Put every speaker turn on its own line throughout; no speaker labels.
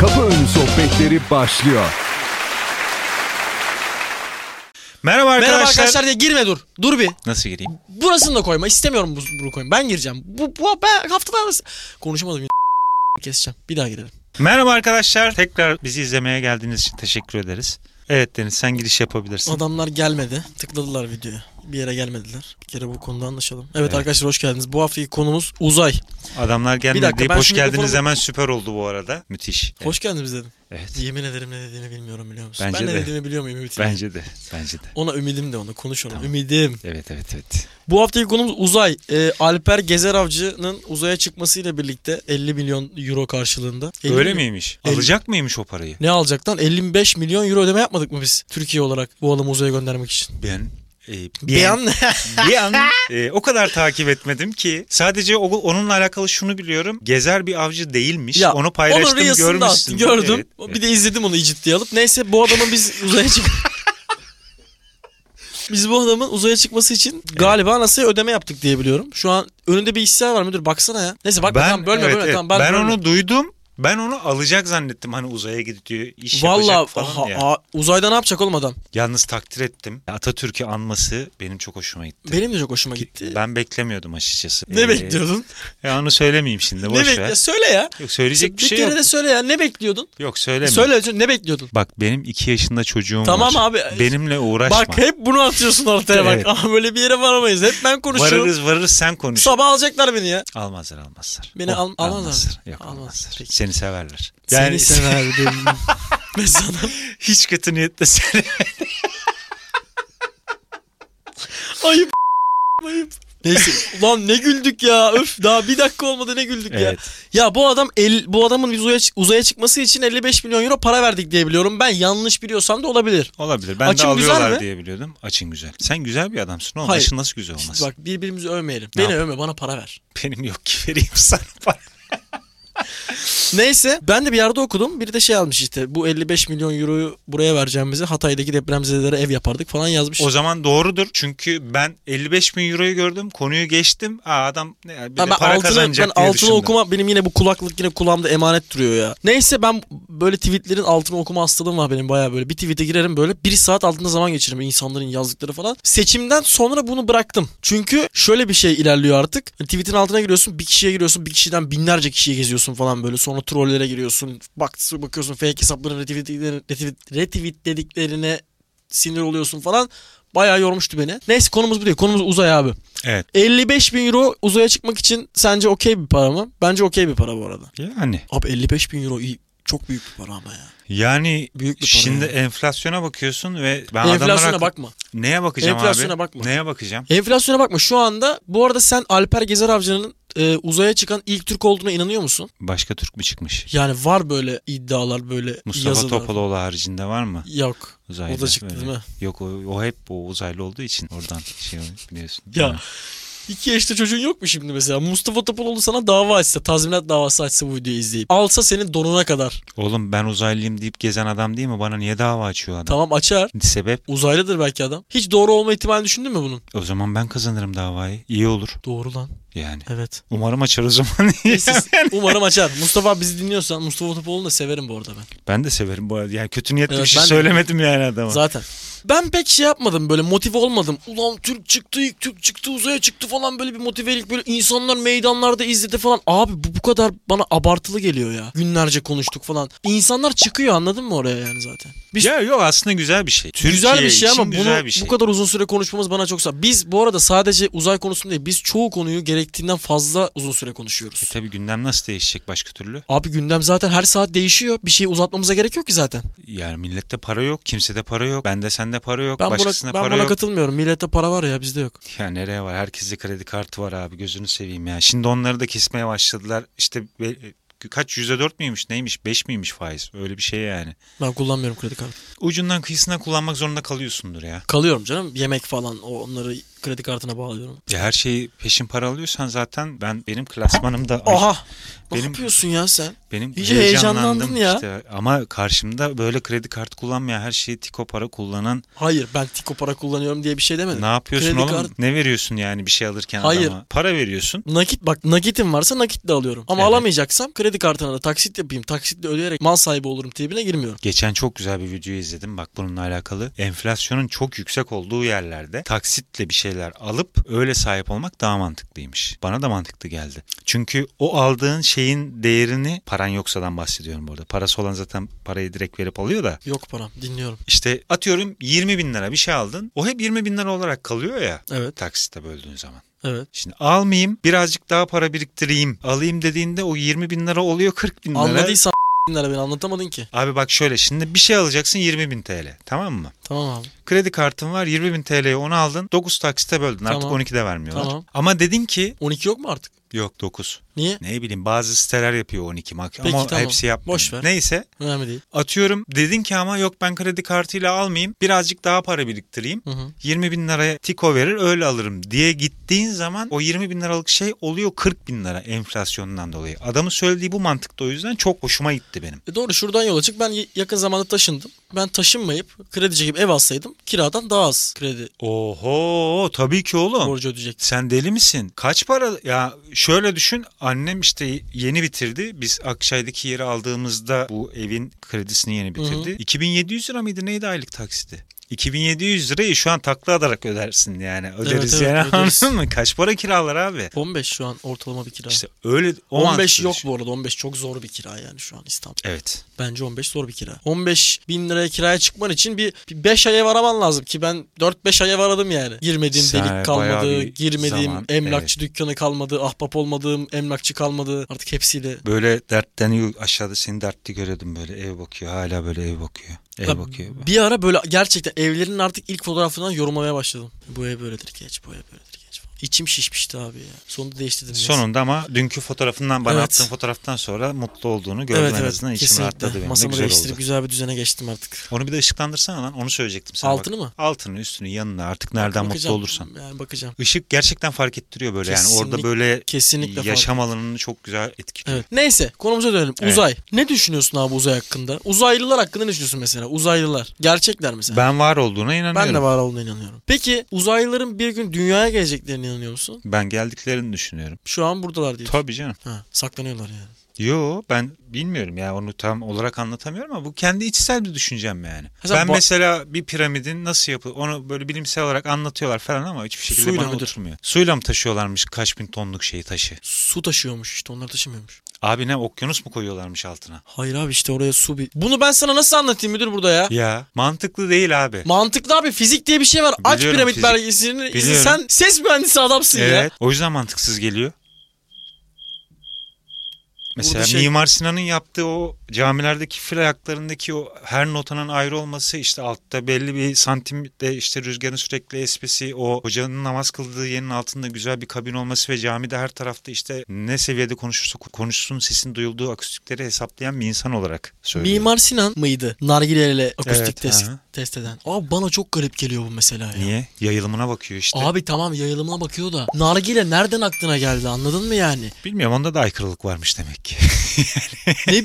Kapı Önü Sohbetleri başlıyor.
Merhaba arkadaşlar.
Merhaba arkadaşlar diye girme dur. Dur bir.
Nasıl gireyim?
Burasını da koyma. İstemiyorum bu, bunu koyma. Ben gireceğim. Bu, bu ben haftada arası- Konuşamadım. yine. Keseceğim. Bir daha girelim.
Merhaba arkadaşlar. Tekrar bizi izlemeye geldiğiniz için teşekkür ederiz. Evet Deniz sen giriş yapabilirsin.
Adamlar gelmedi. Tıkladılar videoya. Bir yere gelmediler. Bir kere bu konuda anlaşalım. Evet, arkadaşlar hoş geldiniz. Bu haftaki konumuz uzay.
Adamlar gelmedi
Bir dakika,
deyip
ben
hoş
şimdi
geldiniz
mikrofonu-
hemen süper oldu bu arada. Müthiş. E,
Hoş geldiniz dedim.
Evet.
Yemin ederim ne dediğini bilmiyorum biliyor musun?
Bence
ben ne
de.
dediğimi biliyor muyum Ümit?
Bence de. Bence de.
Ona ümidim de onu. Konuş ona.
Tamam.
Ümidim.
Evet evet evet.
Bu haftaki konumuz uzay. Ee, Alper Gezer Avcı'nın uzaya çıkmasıyla birlikte 50 milyon euro karşılığında. 50
Öyle
milyon-
miymiş?
Elli-
Alacak mıymış o parayı?
Ne alacak lan? 55 milyon euro ödeme yapmadık mı biz Türkiye olarak bu adamı uzaya göndermek için?
Ben e,
Bir an
bir an e, o kadar takip etmedim ki sadece o- onunla alakalı şunu biliyorum. Gezer bir avcı değilmiş.
Ya,
Onu
onun
paylaştım
rüyasını da
görmüşsün.
attı, gördüm.
Evet,
Bir de izledim onu ciddiye alıp. Neyse bu adamın biz uzaya çık... Biz bu adamın uzaya çıkması için galiba NASA'ya ödeme yaptık diye biliyorum. Şu an önünde bir işler var müdür baksana ya. Neyse bak
ben,
tamam bölme
evet,
bölme
evet.
tamam
ben,
ben, bölme.
onu duydum. Ben onu alacak zannettim. Hani uzaya gidiyor, iş
Valla
şey yapacak falan ya.
uzayda ne yapacak oğlum adam?
Yalnız takdir ettim. Atatürk'ü anması benim çok hoşuma gitti.
Benim de çok hoşuma gitti.
Ben beklemiyordum açıkçası.
Ne
Ee,
bekliyordun?
Ya onu söylemeyeyim şimdi.
Ne
Boş
bekle?
ver.
Söyle ya.
Yok söyleyecek bir
Bir
şey
kere
yok.
de söyle ya. Ne bekliyordun?
Yok söyleme.
Söyle ne bekliyordun?
Bak benim iki yaşında çocuğum var.
Tamam abi.
Benimle uğraşma.
Bak hep bunu atıyorsun ortaya bak.
Evet.
Ama böyle bir yere varamayız. Hep ben konuşuyorum.
varırız varırız sen konuş.
Sabah alacaklar beni ya.
Almazlar almazlar.
Beni al- almazlar.
Yok
Almazlar,
almazlar.
peki.
Seni severler.
Seni severdim. Ve sana
hiç kötü niyetle seni.
ayıp ayıp. Neyse ulan ne güldük ya. Öf daha bir dakika olmadı ne güldük ya.
evet.
Ya bu adam el, bu adamın biz uzaya, çık- uzaya çıkması için 55 milyon euro para verdik diye biliyorum. Ben yanlış biliyorsam da olabilir.
Olabilir. Ben
Açın
de
güzel
alıyorlar
mi?
diye biliyordum. Açın güzel. Sen güzel bir adamsın oğlum.
Hayır.
Açın nasıl güzel olmaz?
Bak birbirimizi övmeyelim.
Ne
Beni
yap-
övme bana para ver.
Benim yok ki vereyim sana para.
Neyse ben de bir yerde okudum. Biri de şey almış işte bu 55 milyon euroyu buraya vereceğimizi Hatay'daki depremzedelere ev yapardık falan yazmış.
O zaman doğrudur. Çünkü ben 55 bin euroyu gördüm. Konuyu geçtim. Aa adam ne ya, bir
Ama
de para kazanacak
ben
diye
altını
düşündüm.
okuma benim yine bu kulaklık yine kulağımda emanet duruyor ya. Neyse ben böyle tweetlerin altını okuma hastalığım var benim bayağı böyle. Bir tweete girerim böyle bir saat altında zaman geçiririm insanların yazdıkları falan. Seçimden sonra bunu bıraktım. Çünkü şöyle bir şey ilerliyor artık. Tweetin altına giriyorsun bir kişiye giriyorsun bir kişiden binlerce kişiye geziyorsun falan böyle. Sonra trollere giriyorsun. Bak, bakıyorsun fake hesapların retweetlediklerine, retweet, retweetlediklerine sinir oluyorsun falan. Bayağı yormuştu beni. Neyse konumuz bu değil. Konumuz uzay abi.
Evet.
55 bin euro uzaya çıkmak için sence okey bir para mı? Bence okey bir para bu arada.
Yani.
Abi 55 bin euro iyi. Çok büyük bir para ama ya.
Yani
Büyük bir para
şimdi
yani.
enflasyona bakıyorsun ve ben
Enflasyona
adamlara...
bakma.
Neye bakacağım
Enflasyona
abi?
bakma.
Neye bakacağım?
Enflasyona bakma. Şu anda bu arada sen Alper Gezer Avcı'nın e, uzaya çıkan ilk Türk olduğuna inanıyor musun?
Başka Türk mü çıkmış?
Yani var böyle iddialar böyle
Mustafa
yazılar.
Topaloğlu haricinde var mı?
Yok.
Uzaylı.
O da çıktı değil mi?
Yok o, o hep o uzaylı olduğu için oradan şey biliyorsun.
Ya iki yaşta çocuğun yok mu şimdi mesela? Mustafa Topaloğlu sana dava açsa, tazminat davası açsa bu videoyu izleyip. Alsa senin donuna kadar.
Oğlum ben uzaylıyım deyip gezen adam değil mi? Bana niye dava açıyor adam?
Tamam açar.
Sebep
Uzaylıdır belki adam. Hiç doğru olma ihtimalini düşündün mü bunun?
o zaman ben kazanırım davayı. İyi olur
Doğru lan.
yani.
Evet.
Umarım açar o zaman.
Siz- Umarım açar. Mustafa abi bizi dinliyorsan Mustafa Topoğlu'nu da severim bu arada ben.
ben de severim bu arada. Yani kötü niyetli
Evet,
bir şey
ben de-
söylemedim yani adama.
Zaten. Ben pek şey yapmadım böyle motive olmadım. Ulan Türk çıktı, ilk Türk çıktı, uzaya çıktı falan böyle bir motivelik böyle insanlar meydanlarda izledi falan. Abi bu bu kadar bana abartılı geliyor ya. Günlerce konuştuk falan. İnsanlar çıkıyor anladın mı oraya yani zaten. Biz
Ya yok aslında güzel bir şey. Türkiye
güzel bir şey
için
ama bunu
güzel bir şey.
bu kadar uzun süre konuşmamız bana çok sağ. Biz bu arada sadece uzay konusunda değil biz çoğu konuyu gerektiğinden fazla uzun süre konuşuyoruz.
E tabii gündem nasıl değişecek başka türlü?
Abi gündem zaten her saat değişiyor. Bir şeyi uzatmamıza gerek yok ki zaten.
Yani millette para yok, kimsede para yok, bende sende para yok,
Ben buna,
başkasında
ben
para
buna
yok.
katılmıyorum. Millette para var ya bizde yok.
Ya nereye var? Herkeste kredi kartı var abi. Gözünü seveyim ya. Şimdi onları da kesmeye başladılar. İşte be- kaç yüzde dört müymüş neymiş beş miymiş faiz öyle bir şey yani.
Ben kullanmıyorum kredi kartı.
Ucundan kıyısına kullanmak zorunda kalıyorsundur ya.
Kalıyorum canım. Yemek falan o- onları kredi kartına bağlıyorum.
Ya her şeyi peşin para alıyorsan zaten ben benim klasmanımda Ay,
Aha! Ne
Benim-
yapıyorsun ya sen?
benim
İyice
heyecanlandım
heyecanlandın ya.
işte. Ama karşımda böyle kredi kartı kullanmayan her şeyi tiko para kullanan
Hayır ben Tiko para kullanıyorum diye bir şey demedim.
ne yapıyorsun
Kredi
oğlum?
kartı-
Ne veriyorsun yani bir şey alırken
Hayır.
adama? Para veriyorsun.
Nakit bak nakitim varsa nakitle alıyorum. Ama
Evet.
alamayacaksam kredi kartına da taksit yapayım. Taksitle ödeyerek mal sahibi olurum tribine girmiyorum.
Geçen çok güzel bir video izledim bak bununla alakalı. Enflasyonun çok yüksek olduğu yerlerde taksitle bir şeyler alıp öyle sahip olmak daha mantıklıymış. Bana da mantıklı geldi. Çünkü o aldığın şeyin değerini paran yoksadan bahsediyorum burada. Parası olan zaten parayı direkt verip alıyor da
Yok param dinliyorum.
işte atıyorum 20 bin lira bir şey aldın. O hep 20 bin lira olarak kalıyor ya
Evet
taksitle böldüğün zaman.
evet.
Şimdi almayayım birazcık daha para biriktireyim alayım dediğinde o 20 bin lira oluyor 40 bin lira.
Anladıysan lira beni anlatamadın ki.
Abi bak şöyle şimdi bir şey alacaksın 20 bin TL tamam mı?
Tamam abi.
Kredi kartın var 20 bin TL'ye onu aldın 9 taksite böldün artık
Tamam.
12'de vermiyorlar.
Tamam.
Ama dedin ki
12 yok mu artık?
yok 9
Niye?
ne bileyim bazı siteler yapıyor 12 mak
Peki,
ama
tamam.
hepsi yapmıyor.
Boş ver.
Neyse
Önemli değil.
atıyorum dedin ki ama yok ben kredi kartıyla almayayım birazcık daha para biriktireyim.
Hı hı.
20 bin liraya tiko verir öyle alırım diye gittiğin zaman o 20 bin liralık şey oluyor 40 bin lira enflasyondan dolayı. Adamın söylediği bu mantıkta o yüzden çok hoşuma gitti benim.
E doğru şuradan yola çık. Ben y- yakın zamanda taşındım. Ben taşınmayıp kredi çekip ev alsaydım kiradan daha az kredi
Oho tabii ki oğlum.
borcu ödeyecektim.
Sen deli misin? Kaç para? Ya şöyle düşün. Annem işte yeni bitirdi. Biz Akçay'daki yeri aldığımızda bu evin kredisini yeni bitirdi. 2700 lira mıydı? Neydi aylık taksiti? 2700 lirayı şu an takla atarak ödersin yani. Öderiz
evet,
yani
öderiz.
anladın mı? Kaç para kiralar abi?
15 şu an ortalama bir kira.
İşte öyle o
15
mantıklı
yok
düşün.
bu arada. 15 çok zor bir kira yani şu an İstanbul.
Evet.
Bence 15 zor bir kira. 15 bin liraya kiraya çıkman için bir, bir 5 aya varaman lazım ki ben 4-5 aya varadım yani. Girmediğim
Sen
delik
bayağı
kalmadı,
bir
girmediğim
zaman,
emlakçı dükkanı kalmadı, ahbap olmadığım emlakçı kalmadı. Artık hepsiyle.
Böyle dertleniyor aşağıda seni dertli görüyordum böyle ev bakıyor hala böyle ev bakıyor. Ev
Ya
bakıyor.
Bir ara böyle gerçekten evlerin artık ilk fotoğrafından yorumlamaya başladım. Bu ev böyledir geç, bu ev böyledir geç falan. İçim şişmişti abi ya. Sonunda değiştirdim. neyse.
Sonunda ama dünkü fotoğrafından bana
Evet.
attığın fotoğraftan sonra mutlu olduğunu gördüm en azından içim rahatladı benim. Ne
Masamı
güzel
değiştirip
oldu.
güzel bir düzene geçtim artık.
Onu bir de ışıklandırsana lan onu söyleyecektim sana.
Altını
bak.
mı?
Altını üstünü yanını artık nereden mutlu
Bakacağım.
olursan.
Yani bakacağım.
Işık gerçekten fark ettiriyor böyle yani orada
Kesinlikle-
böyle
Kesinlikle fark
yaşam alanını çok güzel etkiliyor.
Evet. Neyse konumuza dönelim.
Evet.
Uzay. Ne düşünüyorsun abi uzay hakkında? Uzaylılar hakkında ne düşünüyorsun mesela? Uzaylılar. Gerçekler mesela.
Ben var olduğuna
Ben,
inanıyorum. Ben,
de var olduğuna inanıyorum. Peki uzaylıların bir gün dünyaya geleceklerine inanıyor musun?
geldiklerini düşünüyorum.
Şu an buradalar diye.
Tabii canım.
Ha, saklanıyorlar yani.
Yo ben bilmiyorum ya onu tam olarak anlatamıyorum ama bu kendi içsel bir düşüncem yani.
Ha, sen
ben
ba-
mesela bir piramidin nasıl yapı onu böyle bilimsel olarak anlatıyorlar falan ama hiçbir şekilde
Suyla
bana
mıdır?
oturmuyor. Suyla mı taşıyorlarmış kaç bin tonluk şeyi taşı?
Su taşıyormuş işte onlar taşımıyormuş.
Abi ne okyanus mu koyuyorlarmış altına?
Hayır abi işte oraya su bir... Bunu ben sana nasıl anlatayım müdür burada ya?
Ya mantıklı değil abi.
Mantıklı abi fizik diye bir şey var. Aç
Biliyorum
piramit
fizik.
belgesini izle.
Biliyorum.
Sen ses mühendisi adamsın ya.
Evet. O yüzden mantıksız geliyor. Mesela
şey-
Mimar Sinan'ın yaptığı o camilerdeki fil ayaklarındaki o her notanın ayrı olması işte altta belli bir santimde işte rüzgarın sürekli esmesi o hocanın namaz kıldığı yerin altında güzel bir kabin olması ve camide her tarafta işte ne seviyede konuşursa konuşsun sesin duyulduğu akustikleri hesaplayan bir insan olarak söylüyorum.
Mimar Sinan mıydı? Nargileyle akustik
Evet,
test,
aha.
test eden. Abi bana çok garip geliyor bu mesela ya.
Niye? Yayılımına bakıyor işte.
Abi tamam yayılımına bakıyor da nargile nereden aklına geldi anladın mı yani?
Bilmiyorum onda da aykırılık varmış demek ki.
Ne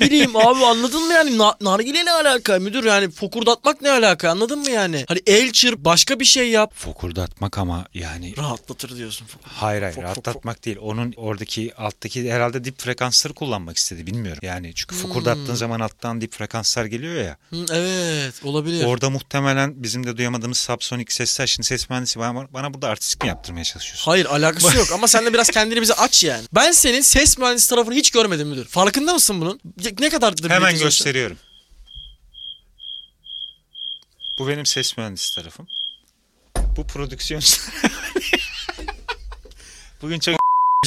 bileyim abi anladın mı yani Na- nargile ne alaka müdür yani fokurdatmak ne alaka anladın mı yani? Hani el çırp başka bir şey yap
Fokurdatmak ama yani
rahatlatır diyorsun. fokur-
Hayır hayır
Fok, fok,
rahatlatmak değil. Onun oradaki alttaki herhalde dip frekansları kullanmak istedi bilmiyorum. Yani çünkü
Hmm.
fokurdattığın zaman alttan dip frekanslar geliyor ya.
Hı, evet olabilir.
Orada muhtemelen bizim de duyamadığımız subsonik sesler. Şimdi ses mühendisi bana, bana burada artistik mi yaptırmaya çalışıyorsun?
Hayır alakası yok ama sen de biraz kendini bize aç yani. Ben senin ses mühendisi tarafını hiç görmedim müdür. Farkında mısın bunun? Ya- Ne kadardır
Hemen
birlikte çalışıyorsun?
gösteriyorum. Bu benim ses mühendisi tarafım. Bu prodüksiyon. Bugün çok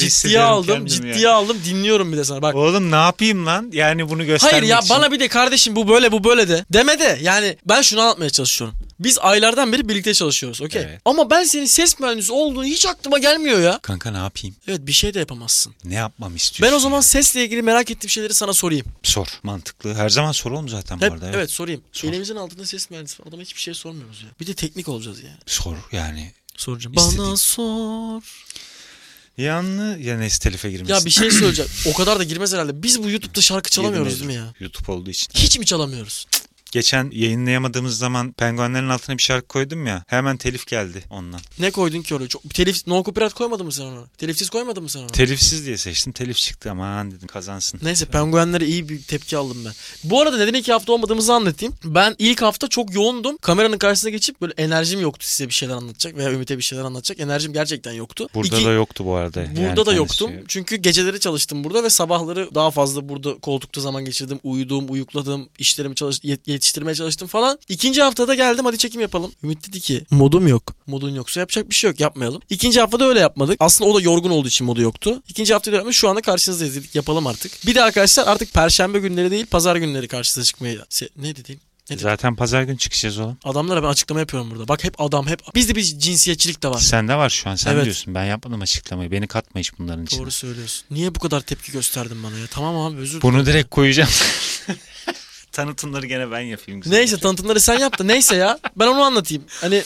Ciddiye
hissediyorum
aldım,
kendimi ya.
ciddiye aldım. Dinliyorum bir de sana. Bak
Oğlum ne yapayım lan? Yani bunu göstermek
Hayır ya
için.
bana bir de kardeşim bu böyle bu böyle de. Deme de yani ben şunu anlatmaya çalışıyorum. Biz aylardan beri birlikte çalışıyoruz okey.
Evet.
Ama ben senin ses mühendisi olduğunu hiç aklıma gelmiyor ya.
Kanka ne yapayım?
Evet bir şey de yapamazsın.
Ne yapmam
Ben
istiyorsun?
o zaman sesle ilgili merak ettiğim şeyleri sana sorayım.
Sor. Mantıklı. Her zaman soralım zaten
Hep,
bu arada.
evet.
Evet.
sorayım.
Sor.
Elimizin altında ses mühendisi var. Adama hiçbir şey sormuyoruz ya. Bir de teknik olacağız yani.
Sor yani.
Sorunca.
İstediğin-
Bana sor.
Yanlı ya neyse telife girmesin.
Ya bir şey söyleyeceğim. o kadar da girmez herhalde. Biz bu YouTube'da şarkı çalamıyoruz değil mi ya?
YouTube olduğu için.
Hiç mi çalamıyoruz?
Geçen yayınlayamadığımız zaman penguenlerin altına bir şarkı koydum ya. Hemen telif geldi ondan.
Ne koydun ki oraya? Çok, telif, no copyright koymadın mı sen ona? Telifsiz koymadın mı sen ona?
Telifsiz diye seçtim. Telif çıktı aman dedim kazansın.
Neyse penguenlere iyi bir tepki aldım ben. Bu arada neden iki hafta olmadığımızı anlatayım. Ben ilk hafta çok yoğundum. Kameranın karşısına geçip böyle enerjim yoktu size bir şeyler anlatacak veya Ümit'e bir şeyler anlatacak. Enerjim gerçekten yoktu.
Burada
İki-
da yoktu bu arada.
Burada
Yani
da
kendisi-
yoktum. Çünkü geceleri çalıştım burada ve sabahları daha fazla burada koltukta zaman geçirdim. Uyudum, uyukladım, işlerimi çalış yet- yetiştirmeye çalıştım falan. İkinci haftada geldim hadi çekim yapalım. Ümit dedi ki modum yok. Modun yoksa yapacak bir şey yok yapmayalım. İkinci haftada öyle yapmadık. Aslında o da yorgun olduğu için modu yoktu. İkinci haftada yapmış şu anda karşınızdayız dedik yapalım artık. Bir de arkadaşlar artık perşembe günleri değil pazar günleri karşınıza çıkmayı... Se- ne dediğim? Ne dedim?
Zaten pazar günü çıkacağız oğlum.
Adamlara ben açıklama yapıyorum burada. Bak hep adam hep... Bizde bir cinsiyetçilik de var.
Sende var şu an sen
Evet.
diyorsun. Ben yapmadım açıklamayı. Beni katma hiç bunların içine.
Doğru söylüyorsun. Niye bu kadar tepki gösterdin bana ya? Tamam abi özür
Bunu direkt koyacağım. Tanıtımları gene ben yapayım. güzel.
Neyse tanıtımları sen yap da neyse ya. Ben onu anlatayım. Hani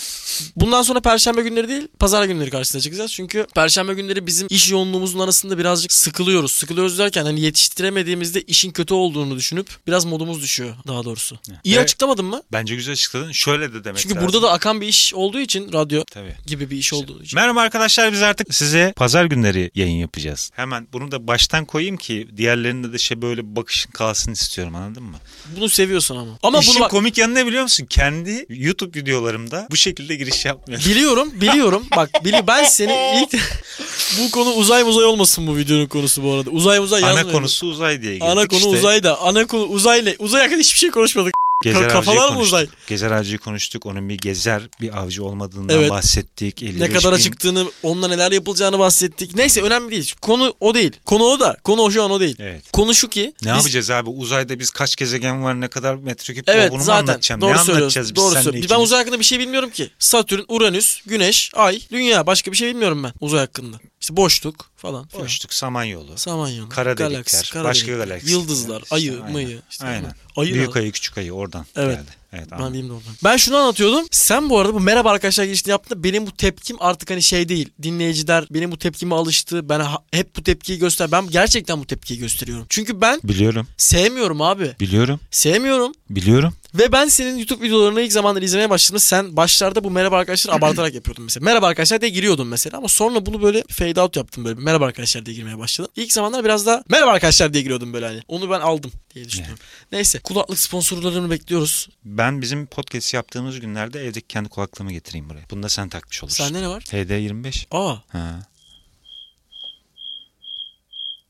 bundan sonra perşembe günleri değil pazar günleri karşısına çıkacağız. Çünkü perşembe günleri bizim iş yoğunluğumuzun arasında birazcık sıkılıyoruz. Sıkılıyoruz derken hani yetiştiremediğimizde işin kötü olduğunu düşünüp biraz modumuz düşüyor daha doğrusu. İyi
Evet.
açıklamadın mı?
Bence güzel açıkladın. Şöyle de demek
Çünkü
lazım.
burada da akan bir iş olduğu için radyo
Tabii.
gibi bir
Şey,
iş olduğu için.
Merhaba arkadaşlar biz artık size pazar günleri yayın yapacağız. Hemen bunu da baştan koyayım ki diğerlerinde de şey böyle bakışın kalsın istiyorum anladın mı?
Bunu seviyorsun ama. Ama
İşin
bunu bak-
komik yanı ne biliyor musun? Kendi YouTube videolarımda bu şekilde giriş yapmıyorum.
Biliyorum, biliyorum. Bak bili ben seni ilk bu konu uzay uzay olmasın bu videonun konusu bu arada. Uzay uzay
Ana
yazmayalım.
konusu uzay diye girdik
Ana konu
işte.
uzay da. Ana konu uzay ne? Uzay hakkında hiçbir şey konuşmadık.
Gezer
Kafalar
avcıyı
mı
konuştuk.
uzay?
Gezer avcıyı konuştuk. Onun bir gezer bir avcı olmadığından
Evet.
bahsettik. 55
Ne kadar
bin-
acıktığını, onunla neler yapılacağını bahsettik. Neyse önemli değil. Konu o değil. Konu o da. Konu o şu an o değil.
Evet.
Konu şu ki.
Ne
biz-
yapacağız abi? Uzayda biz kaç gezegen var? Ne kadar metreküp?
Evet
o, bunu mu
zaten
anlatacağım?
doğru
ne
söylüyorsun.
anlatacağız biz
Doğru
seninle
söylüyorsun. Ben
ikimiz?
uzay hakkında bir şey bilmiyorum ki. Satürn, Uranüs, Güneş, Ay, Dünya başka bir şey bilmiyorum ben uzay hakkında. İşte boşluk falan. filan.
Boşluk, Samanyolu.
Samanyolu,
Kara
galaksi,
delikler,
kara
başka
delikler,
galaksiler.
Yıldızlar,
İşte
ayı,
aynen,
mıyı. Işte
aynen.
Ayı
Büyük
ne?
ayı, küçük ayı oradan
Evet.
geldi. Evet.
Ben
anladım.
bileyim de oradan. Ben şunu anlatıyordum. Sen bu arada bu merhaba arkadaşlar girişini yaptığında benim bu tepkim artık hani şey değil. Dinleyiciler benim bu tepkime alıştı. Ben ha- hep bu tepkiyi göster. Ben gerçekten bu tepkiyi gösteriyorum. Çünkü ben
Biliyorum,
sevmiyorum abi.
biliyorum,
Sevmiyorum.
biliyorum.
Ve ben senin YouTube videolarını ilk zamanlar izlemeye başladığımda sen başlarda bu merhaba arkadaşlar abartarak yapıyordun mesela. Merhaba arkadaşlar diye giriyordun mesela ama sonra bunu böyle fade out yaptım böyle. Merhaba arkadaşlar diye girmeye başladım. İlk zamanlar biraz daha merhaba arkadaşlar diye giriyordum böyle hani. Onu ben aldım diye düşünüyorum. Neyse kulaklık sponsorlarını bekliyoruz.
Ben bizim podcast yaptığımız günlerde evdeki kendi kulaklığımı getireyim buraya. Bunu da sen takmış olursun.
Sende ne var?
HD25.
Aa
Ha.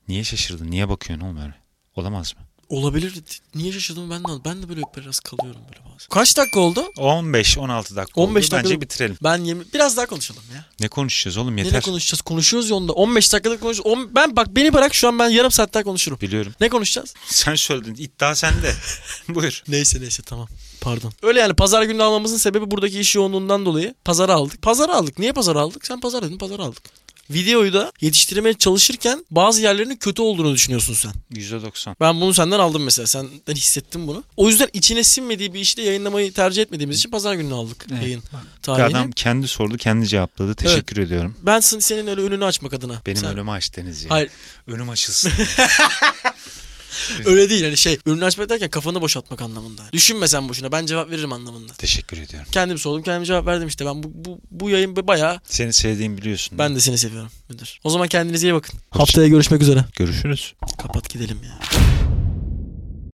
Niye şaşırdın? Niye bakıyorsun oğlum öyle? Olamaz mı?
Olabilir. Niye şaşırdım ben de ben de böyle biraz kalıyorum böyle bazen. Kaç dakika oldu?
15-16 dakika
15
oldu. Bence
dakika-
bitirelim.
Ben yirmi biraz daha konuşalım ya.
Ne konuşacağız oğlum yeter.
Neyle konuşacağız? Konuşuyoruz ya onda. 15 dakikalık konuş. on- Ben bak beni bırak şu an ben yarım saat daha konuşurum.
Biliyorum.
Ne konuşacağız?
Sen söyledin. İddia sende. Buyur.
Neyse neyse tamam. Pardon. Öyle yani pazar günü almamızın sebebi buradaki iş yoğunluğundan dolayı pazara aldık. Pazara aldık. Niye pazara aldık? Sen pazar dedin pazara aldık. Videoyu da yetiştirmeye çalışırken bazı yerlerinin kötü olduğunu düşünüyorsun sen.
%90.
Ben bunu senden aldım mesela. Senden hissettim bunu. O yüzden içine sinmediği bir işte yayınlamayı tercih etmediğimiz için pazar gününü aldık
Evet.
yayın tarihini.
Adam kendi sordu, kendi cevapladı. Teşekkür ediyorum.
Ben sen- senin öyle önünü açmak adına.
Benim
Sen-
önümü aç Deniz ya.
Hayır
Önüm açılsın.
öyle değil hani şey önünü açmak derken kafanı boşaltmak anlamında. Düşünme sen boşuna ben cevap veririm anlamında.
Teşekkür ediyorum.
Kendim sordum kendim cevap verdim işte ben bu, bu, bu yayın bayağı
Seni sevdiğimi biliyorsun.
ben de seni seviyorum müdür. O zaman kendinize iyi bakın. Haftaya görüşmek üzere.
Görüşürüz.
Kapat gidelim ya.